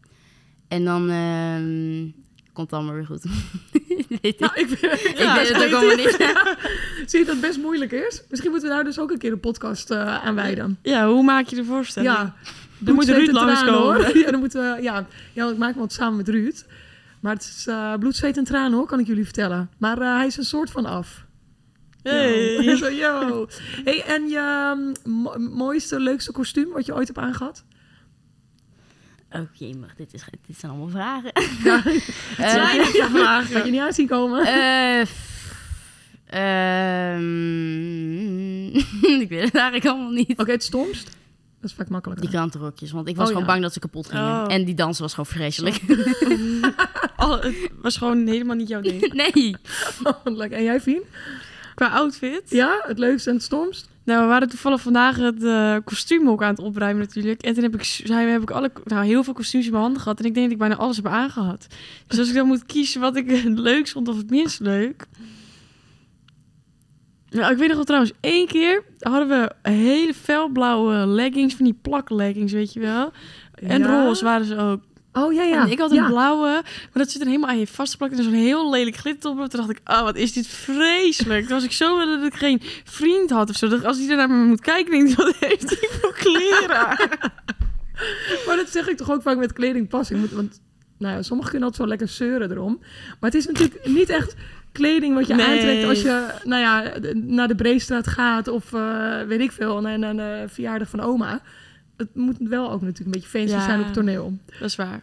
Speaker 3: En dan ehm, komt het allemaal weer goed. Weet ik.
Speaker 1: Nou, ik, ik
Speaker 3: ik weet het ook allemaal niet.
Speaker 1: Zie je dat het best moeilijk is? Misschien moeten we daar dus ook een keer een podcast eh aan wijden.
Speaker 2: Ja, hoe maak je de voorstelling?
Speaker 1: Ja,
Speaker 2: dan moet
Speaker 1: bloed, zweet
Speaker 2: Ruud
Speaker 1: en tranen,
Speaker 2: langskomen.
Speaker 1: hoor. Ja, dan moeten we, ja. ja, want ik maak hem wat samen met Ruud. Maar het is eh bloed, zweet en tranen hoor, kan ik jullie vertellen. Maar eh, hij is een soort van af.
Speaker 2: Hey.
Speaker 1: Yo. Zo, yo. Hey, en je ehm, mo- mooiste, leukste kostuum wat je ooit hebt aangehad?
Speaker 3: Oké, maar dit, is, dit zijn allemaal vragen.
Speaker 1: Ja,
Speaker 3: Eh,
Speaker 1: vragen. Had je niet aan zien komen?
Speaker 3: Eh, f- ehm, ik weet het eigenlijk allemaal niet.
Speaker 1: Oké, het stomst. Dat is vaak makkelijker.
Speaker 3: Die krantenrokjes, want ik was
Speaker 1: Oh,
Speaker 3: gewoon
Speaker 1: ja.
Speaker 3: bang dat ze kapot gingen.
Speaker 2: Oh.
Speaker 3: En die dans was gewoon vreselijk.
Speaker 2: Alle- het was gewoon helemaal niet jouw ding.
Speaker 3: nee.
Speaker 1: Lekker. en jij, Fien?
Speaker 2: Qua outfit.
Speaker 1: Ja, het leukste en het stomst?
Speaker 2: Nou, we waren toevallig vandaag het eh, kostuum ook aan het opruimen natuurlijk. En toen heb ik, zei, heb ik alle, nou, heel veel kostuums in mijn handen gehad. En ik denk dat ik bijna alles heb aangehad. Dus als ik dan moet kiezen wat ik het leukst vond of het minst leuk. Nou, ik weet nog wel trouwens, één keer hadden we hele felblauwe leggings, van die plakleggings, weet je wel. En
Speaker 1: Ja.
Speaker 2: roze waren ze ook.
Speaker 1: Oh, ja, ja.
Speaker 2: En ik had een
Speaker 1: ja.
Speaker 2: blauwe, maar dat zit er helemaal aan je vastgeplakt. En er is zo'n heel lelijk glittertop op. Toen dacht ik, oh, wat is dit vreselijk. Toen was ik zo blij dat ik geen vriend had of zo. Dat als hij er naar me moet kijken, denk ik, wat heeft hij voor kleren? aan?
Speaker 1: Maar dat zeg ik toch ook vaak met kledingpassing. moet- Want nou ja, sommigen kunnen altijd zo lekker zeuren erom. Maar het is natuurlijk niet echt kleding wat je
Speaker 2: Nee.
Speaker 1: aantrekt als je nou ja, de- naar de Breestraat gaat of eh, weet ik veel, naar, naar de verjaardag van oma. Het moet wel ook natuurlijk een beetje fancy
Speaker 2: Ja.
Speaker 1: zijn op toneel.
Speaker 2: dat is waar.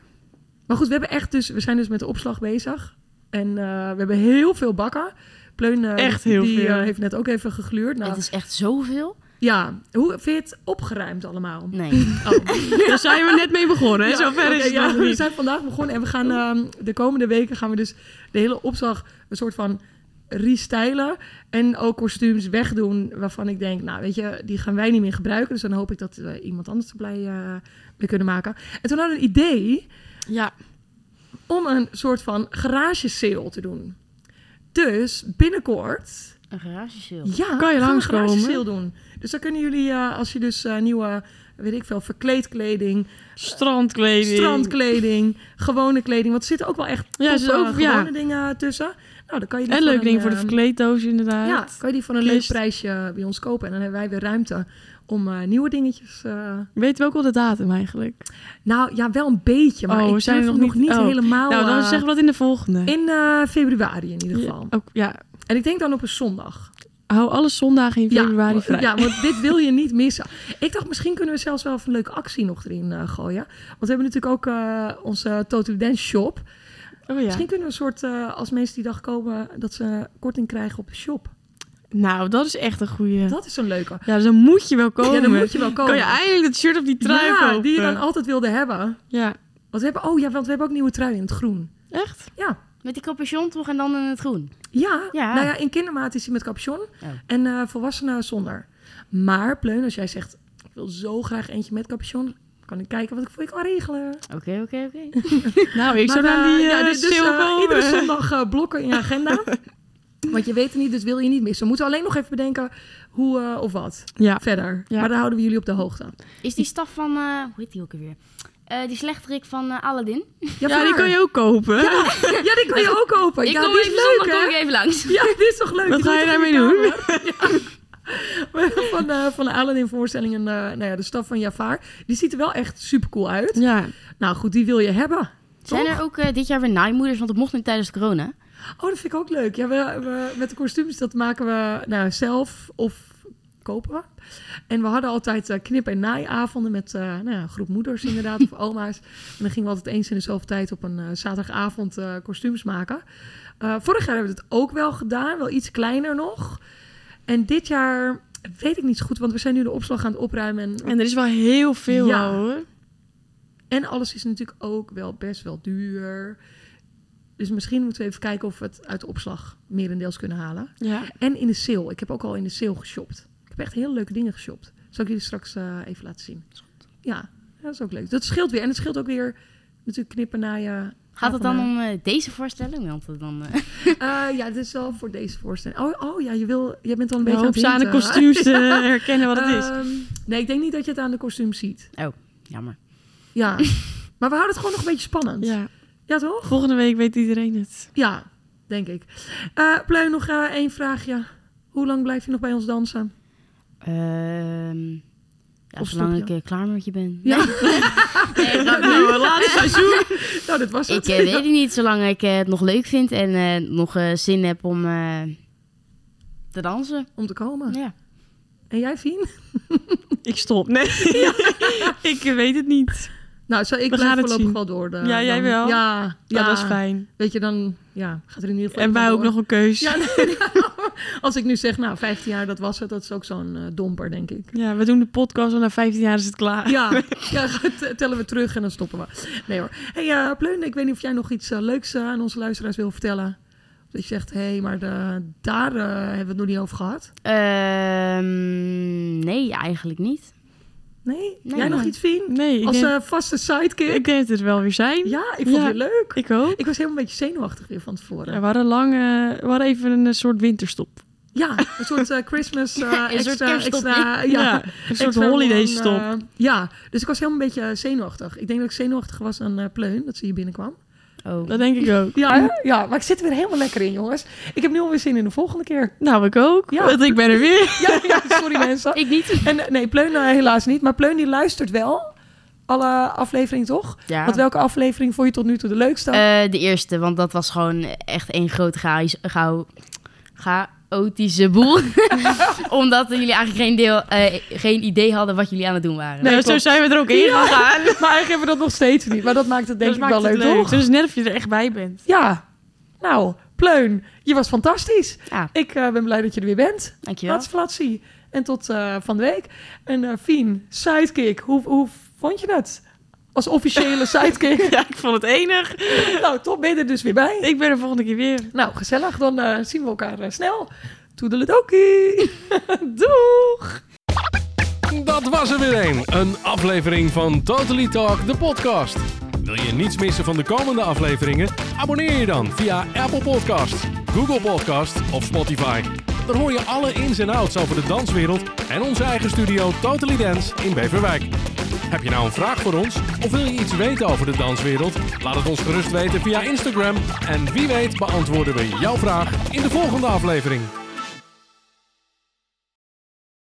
Speaker 1: Maar goed, we, hebben echt dus, we zijn dus met de opslag bezig. En eh, we hebben heel veel bakken. Pleun eh,
Speaker 2: Echt heel
Speaker 1: die,
Speaker 2: veel.
Speaker 1: eh, heeft net ook even gegluurd. Nou,
Speaker 3: Het is echt zoveel.
Speaker 1: Ja, hoe vind je het opgeruimd allemaal?
Speaker 3: Nee.
Speaker 1: Oh.
Speaker 2: Daar zijn we net mee begonnen, hè? Zo ver
Speaker 1: oké,
Speaker 2: is het
Speaker 1: ja,
Speaker 2: nog
Speaker 1: We
Speaker 2: niet. Oh.
Speaker 1: zijn vandaag begonnen en we gaan ehm, de komende weken gaan we dus de hele opslag een soort van restylen en ook kostuums wegdoen waarvan ik denk, nou weet je, die gaan wij niet meer gebruiken, dus dan hoop ik dat we iemand anders er blij eh, mee kunnen maken. En toen hadden we een idee
Speaker 2: Ja,
Speaker 1: om een soort van garage sale te doen. Dus binnenkort
Speaker 3: Een garage sale.
Speaker 1: ja,
Speaker 2: Kan je
Speaker 1: gaan we een
Speaker 2: langskomen?
Speaker 1: garage sale doen. Dus dan kunnen jullie, eh, als je dus eh, nieuwe weet ik veel, verkleedkleding,
Speaker 2: Strandkleding.
Speaker 1: strandkleding, gewone kleding. Want er zitten ook wel echt
Speaker 2: Ja, er zitten
Speaker 1: toffe,
Speaker 2: ook- ja.
Speaker 1: gewone dingen tussen. Nou, dan kan je die
Speaker 2: En
Speaker 1: voor
Speaker 2: leuk
Speaker 1: een,
Speaker 2: ding voor de
Speaker 1: eh,
Speaker 2: verkleeddoos inderdaad.
Speaker 1: Ja, kan je die voor een leuk
Speaker 2: Kist.
Speaker 1: prijsje bij ons kopen. En dan hebben wij weer ruimte om eh, nieuwe dingetjes... eh,
Speaker 2: Weten we ook al de datum eigenlijk?
Speaker 1: nou ja, wel een beetje, maar
Speaker 2: Oh, we
Speaker 1: ik
Speaker 2: zijn
Speaker 1: zijn
Speaker 2: nog
Speaker 1: nog niet,
Speaker 2: niet- oh.
Speaker 1: helemaal...
Speaker 2: nou, dan
Speaker 1: eh,
Speaker 2: zeggen we dat in de volgende.
Speaker 1: In eh, februari in ieder geval.
Speaker 2: Ja, ook, ja,
Speaker 1: En ik denk dan op een zondag.
Speaker 2: hou alle zondagen in februari
Speaker 1: ja, oh,
Speaker 2: vrij.
Speaker 1: Ja, want dit wil je niet missen. Ik dacht, misschien kunnen we zelfs wel even een leuke actie nog erin eh, gooien. Want we hebben natuurlijk ook eh, onze Total Dance Shop.
Speaker 2: Oh, ja.
Speaker 1: Misschien kunnen we een soort, eh, als mensen die dag komen, dat ze korting krijgen op de shop.
Speaker 2: Nou, dat is echt een goeie.
Speaker 1: Dat is een leuke.
Speaker 2: Ja, dus dan moet je wel komen.
Speaker 1: Ja, dan moet je wel komen.
Speaker 2: Kan je eindelijk dat shirt op die trui
Speaker 1: Oh. ja,
Speaker 2: kopen?
Speaker 1: die je dan altijd wilde hebben.
Speaker 2: Ja,
Speaker 1: Want we hebben, oh ja, want we hebben ook nieuwe trui in het groen.
Speaker 2: echt?
Speaker 1: Ja.
Speaker 3: Met die capuchon toch en dan in het groen.
Speaker 1: Ja,
Speaker 3: Ja.
Speaker 1: nou ja, in kindermaat is hij met capuchon en eh, volwassenen zonder. Maar Pleun, als jij zegt, ik wil zo graag eentje met capuchon, kan ik kijken wat ik voor je kan regelen.
Speaker 3: Oké, oké, oké.
Speaker 2: Nou, ik zou
Speaker 1: Maar,
Speaker 2: naar
Speaker 1: eh,
Speaker 2: die eh
Speaker 1: ja, dus, dus,
Speaker 2: sale
Speaker 1: eh,
Speaker 2: komen.
Speaker 1: Iedere zondag eh, blokken in je agenda. Want je weet het niet, dus wil je niet missen. We moeten alleen nog even bedenken hoe eh, of wat
Speaker 2: Ja,
Speaker 1: verder.
Speaker 2: Ja.
Speaker 1: Maar daar houden we jullie op de hoogte.
Speaker 3: Is die staf van, eh, hoe heet die ook alweer? Eh, die slechterik van eh, Aladdin.
Speaker 1: Ja,
Speaker 2: ja die
Speaker 1: waar.
Speaker 2: kan je ook kopen.
Speaker 1: ja, die kan je ook kopen.
Speaker 3: ik
Speaker 1: Oh, ja,
Speaker 3: kom
Speaker 1: die is
Speaker 3: even
Speaker 1: leuk,
Speaker 3: zondag
Speaker 1: hè?
Speaker 3: kom ik even langs.
Speaker 1: Ja, dit is toch leuk.
Speaker 2: Wat
Speaker 1: Die
Speaker 2: ga je
Speaker 1: doet het
Speaker 2: daarmee
Speaker 1: in
Speaker 2: doen?
Speaker 1: je kamer. Ja. Maar Van, eh van de Aladdin-voorstelling en eh, nou ja, de staf van Jafar. Die ziet er wel echt super cool uit.
Speaker 2: Ja,
Speaker 1: Nou goed, die wil je hebben.
Speaker 3: Zijn er ook eh, dit jaar weer naaimoeders? Want dat mocht niet tijdens corona.
Speaker 1: Oh, dat vind ik ook leuk. Ja, we, we- met de kostuums, dat maken we nou, zelf of kopen we. En we hadden altijd eh, knip- en naaiavonden met eh, nou ja, een groep moeders inderdaad, of oma's. En dan gingen we altijd eens in de zoveel tijd op een eh, zaterdagavond eh, kostuums maken. Eh, vorig jaar hebben we het ook wel gedaan, wel iets kleiner nog. En dit jaar weet ik niet zo goed, want we zijn nu de opslag aan het opruimen. En,
Speaker 2: en er is wel heel veel
Speaker 1: Ja.
Speaker 2: al, hoor.
Speaker 1: en alles is natuurlijk ook wel best wel duur. Dus misschien moeten we even kijken of we het uit de opslag merendeels kunnen halen.
Speaker 2: Ja.
Speaker 1: En in de sale. Ik heb ook al in de sale geshopt. Ik heb echt hele leuke dingen geshopt. Zal ik jullie straks eh, even laten zien. Ja, dat is ook leuk. Dat scheelt weer. En het scheelt ook weer natuurlijk knippen naar je...
Speaker 3: Gaat het dan om eh, deze voorstelling? Want dat dan, eh,
Speaker 1: Eh, ja, dit is wel voor deze voorstelling. Oh, oh ja, je, wil, je bent al een
Speaker 2: Nou,
Speaker 1: beetje
Speaker 2: hoop ze
Speaker 1: aan
Speaker 2: aan
Speaker 1: het
Speaker 2: de
Speaker 1: hinten.
Speaker 2: kostuums te herkennen wat het is.
Speaker 1: Ehm, nee, ik denk niet dat je het aan de kostuum ziet.
Speaker 3: Jammer.
Speaker 1: Ja. maar we houden het gewoon nog een beetje spannend. Ja,
Speaker 2: Ja.
Speaker 1: toch?
Speaker 2: Volgende week weet iedereen het.
Speaker 1: Ja, denk ik. Eh Pleun, nog eh, één vraagje. Hoe lang blijf je nog bij ons dansen?
Speaker 3: Ehm, ja,
Speaker 1: Of
Speaker 3: zolang
Speaker 1: stop
Speaker 3: ik
Speaker 1: je?
Speaker 3: eh, klaar met je ben.
Speaker 1: Ja.
Speaker 3: Nee, grapje.
Speaker 2: Nou, laatste seizoen.
Speaker 1: nou, dat was het.
Speaker 3: Ik eh, weet het niet, zolang ik eh, het nog leuk vind en eh, nog eh, zin heb om eh, te dansen.
Speaker 1: Om te komen.
Speaker 3: Ja.
Speaker 1: En jij, Fien?
Speaker 2: Ik stop. Nee. ik weet het niet.
Speaker 1: Nou, zo, ik
Speaker 2: We
Speaker 1: blijf
Speaker 2: gaan het
Speaker 1: voorlopig
Speaker 2: zien.
Speaker 1: wel door. De,
Speaker 2: Ja, jij
Speaker 1: dan-
Speaker 2: wel?
Speaker 1: Ja,
Speaker 2: Ja,
Speaker 1: ja.
Speaker 2: dat is fijn.
Speaker 1: Weet je, dan ja, gaat er in ieder geval...
Speaker 2: En wij
Speaker 1: wel
Speaker 2: ook nog
Speaker 1: door.
Speaker 2: een keus.
Speaker 1: Ja,
Speaker 2: Ja,
Speaker 1: nee, nou, als ik nu zeg, nou, 15 jaar, dat was het. Dat is ook zo'n eh, domper, denk ik.
Speaker 2: we doen de podcast en na 15 jaar is het klaar.
Speaker 1: Ja, ja, t- tellen we terug en dan stoppen we. Nee hoor. hey, eh, Pleun, ik weet niet of jij nog iets eh, leuks eh, aan onze luisteraars wil vertellen. Dat je zegt, hé, hey, maar de, daar eh, hebben we het nog niet over gehad.
Speaker 3: Ehm, nee, eigenlijk niet.
Speaker 1: Nee?
Speaker 3: Nee,
Speaker 1: jij nog
Speaker 3: nee.
Speaker 1: iets, Fien?
Speaker 2: Nee, ik,
Speaker 1: Als
Speaker 2: denk,
Speaker 1: eh, vaste sidekick?
Speaker 2: ik denk dat het wel weer zijn.
Speaker 1: ja, ik vond
Speaker 2: Ja.
Speaker 1: je leuk.
Speaker 2: Ik ook.
Speaker 1: Ik was helemaal een beetje zenuwachtig weer van tevoren.
Speaker 2: Ja, we, hadden lang, eh, we hadden even een eh, soort winterstop.
Speaker 1: Ja, een soort eh, Christmas eh,
Speaker 3: Ja, een soort
Speaker 1: extra,
Speaker 3: kerststop,
Speaker 1: extra, ja,
Speaker 2: een soort
Speaker 1: extra
Speaker 2: holiday
Speaker 1: gewoon,
Speaker 2: stop.
Speaker 1: eh, ja, dus ik was helemaal een beetje zenuwachtig. Ik denk dat ik zenuwachtig was aan eh, Pleun, dat ze hier binnenkwam.
Speaker 3: Oh.
Speaker 2: dat denk ik ook.
Speaker 1: Ja, hè? ja, maar ik zit er weer helemaal lekker in, jongens. Ik heb nu alweer zin in de volgende keer.
Speaker 2: Nou, ik ook.
Speaker 1: Ja.
Speaker 2: Want ik ben er weer.
Speaker 1: Ja, ja sorry mensen.
Speaker 3: Ik niet.
Speaker 1: En eh, nee, Pleun eh, helaas niet, maar Pleun die luistert wel. Alle afleveringen toch?
Speaker 3: Ja.
Speaker 1: Want welke aflevering vond je tot nu toe de leukste?
Speaker 3: Eh, de eerste, want dat was gewoon echt één groot chaos, chao- chaotische boel. Omdat jullie eigenlijk geen, deel, eh, geen idee hadden wat jullie aan het doen waren.
Speaker 2: nou, zo
Speaker 1: klopt.
Speaker 2: zijn we er ook in gegaan.
Speaker 1: Maar eigenlijk hebben we dat nog steeds niet. Maar dat maakt het denk
Speaker 2: dat
Speaker 1: ik
Speaker 2: maakt
Speaker 1: wel leuk,
Speaker 2: het leuk.
Speaker 1: toch?
Speaker 2: Dus net of je er echt bij bent.
Speaker 1: Ja. Nou, Pleun, je was fantastisch.
Speaker 3: Ja,
Speaker 1: Ik eh, ben blij dat je er weer bent.
Speaker 3: dankjewel.
Speaker 1: Wat flatsie. En tot eh, van de week. En eh Fien, sidekick. Hoe, hoe vond je het? Als officiële sidekick.
Speaker 2: Ja, ik vond het enig.
Speaker 1: nou, top ben je er dus weer bij.
Speaker 2: Ik ben er volgende keer weer.
Speaker 1: Nou, gezellig. Dan eh, zien we elkaar eh, snel. Toedeledokie. Doeg.
Speaker 4: Dat was er weer een. Een aflevering van Totally Talk, de podcast. Wil je niets missen van de komende afleveringen? Abonneer je dan via Apple Podcasts, Google Podcasts of Spotify. Daar hoor je alle ins en outs over de danswereld en onze eigen studio Totally Dance in Beverwijk. Heb je nou een vraag voor ons? Of wil je iets weten over de danswereld? Laat het ons gerust weten via Instagram. En wie weet beantwoorden we jouw vraag in de volgende aflevering.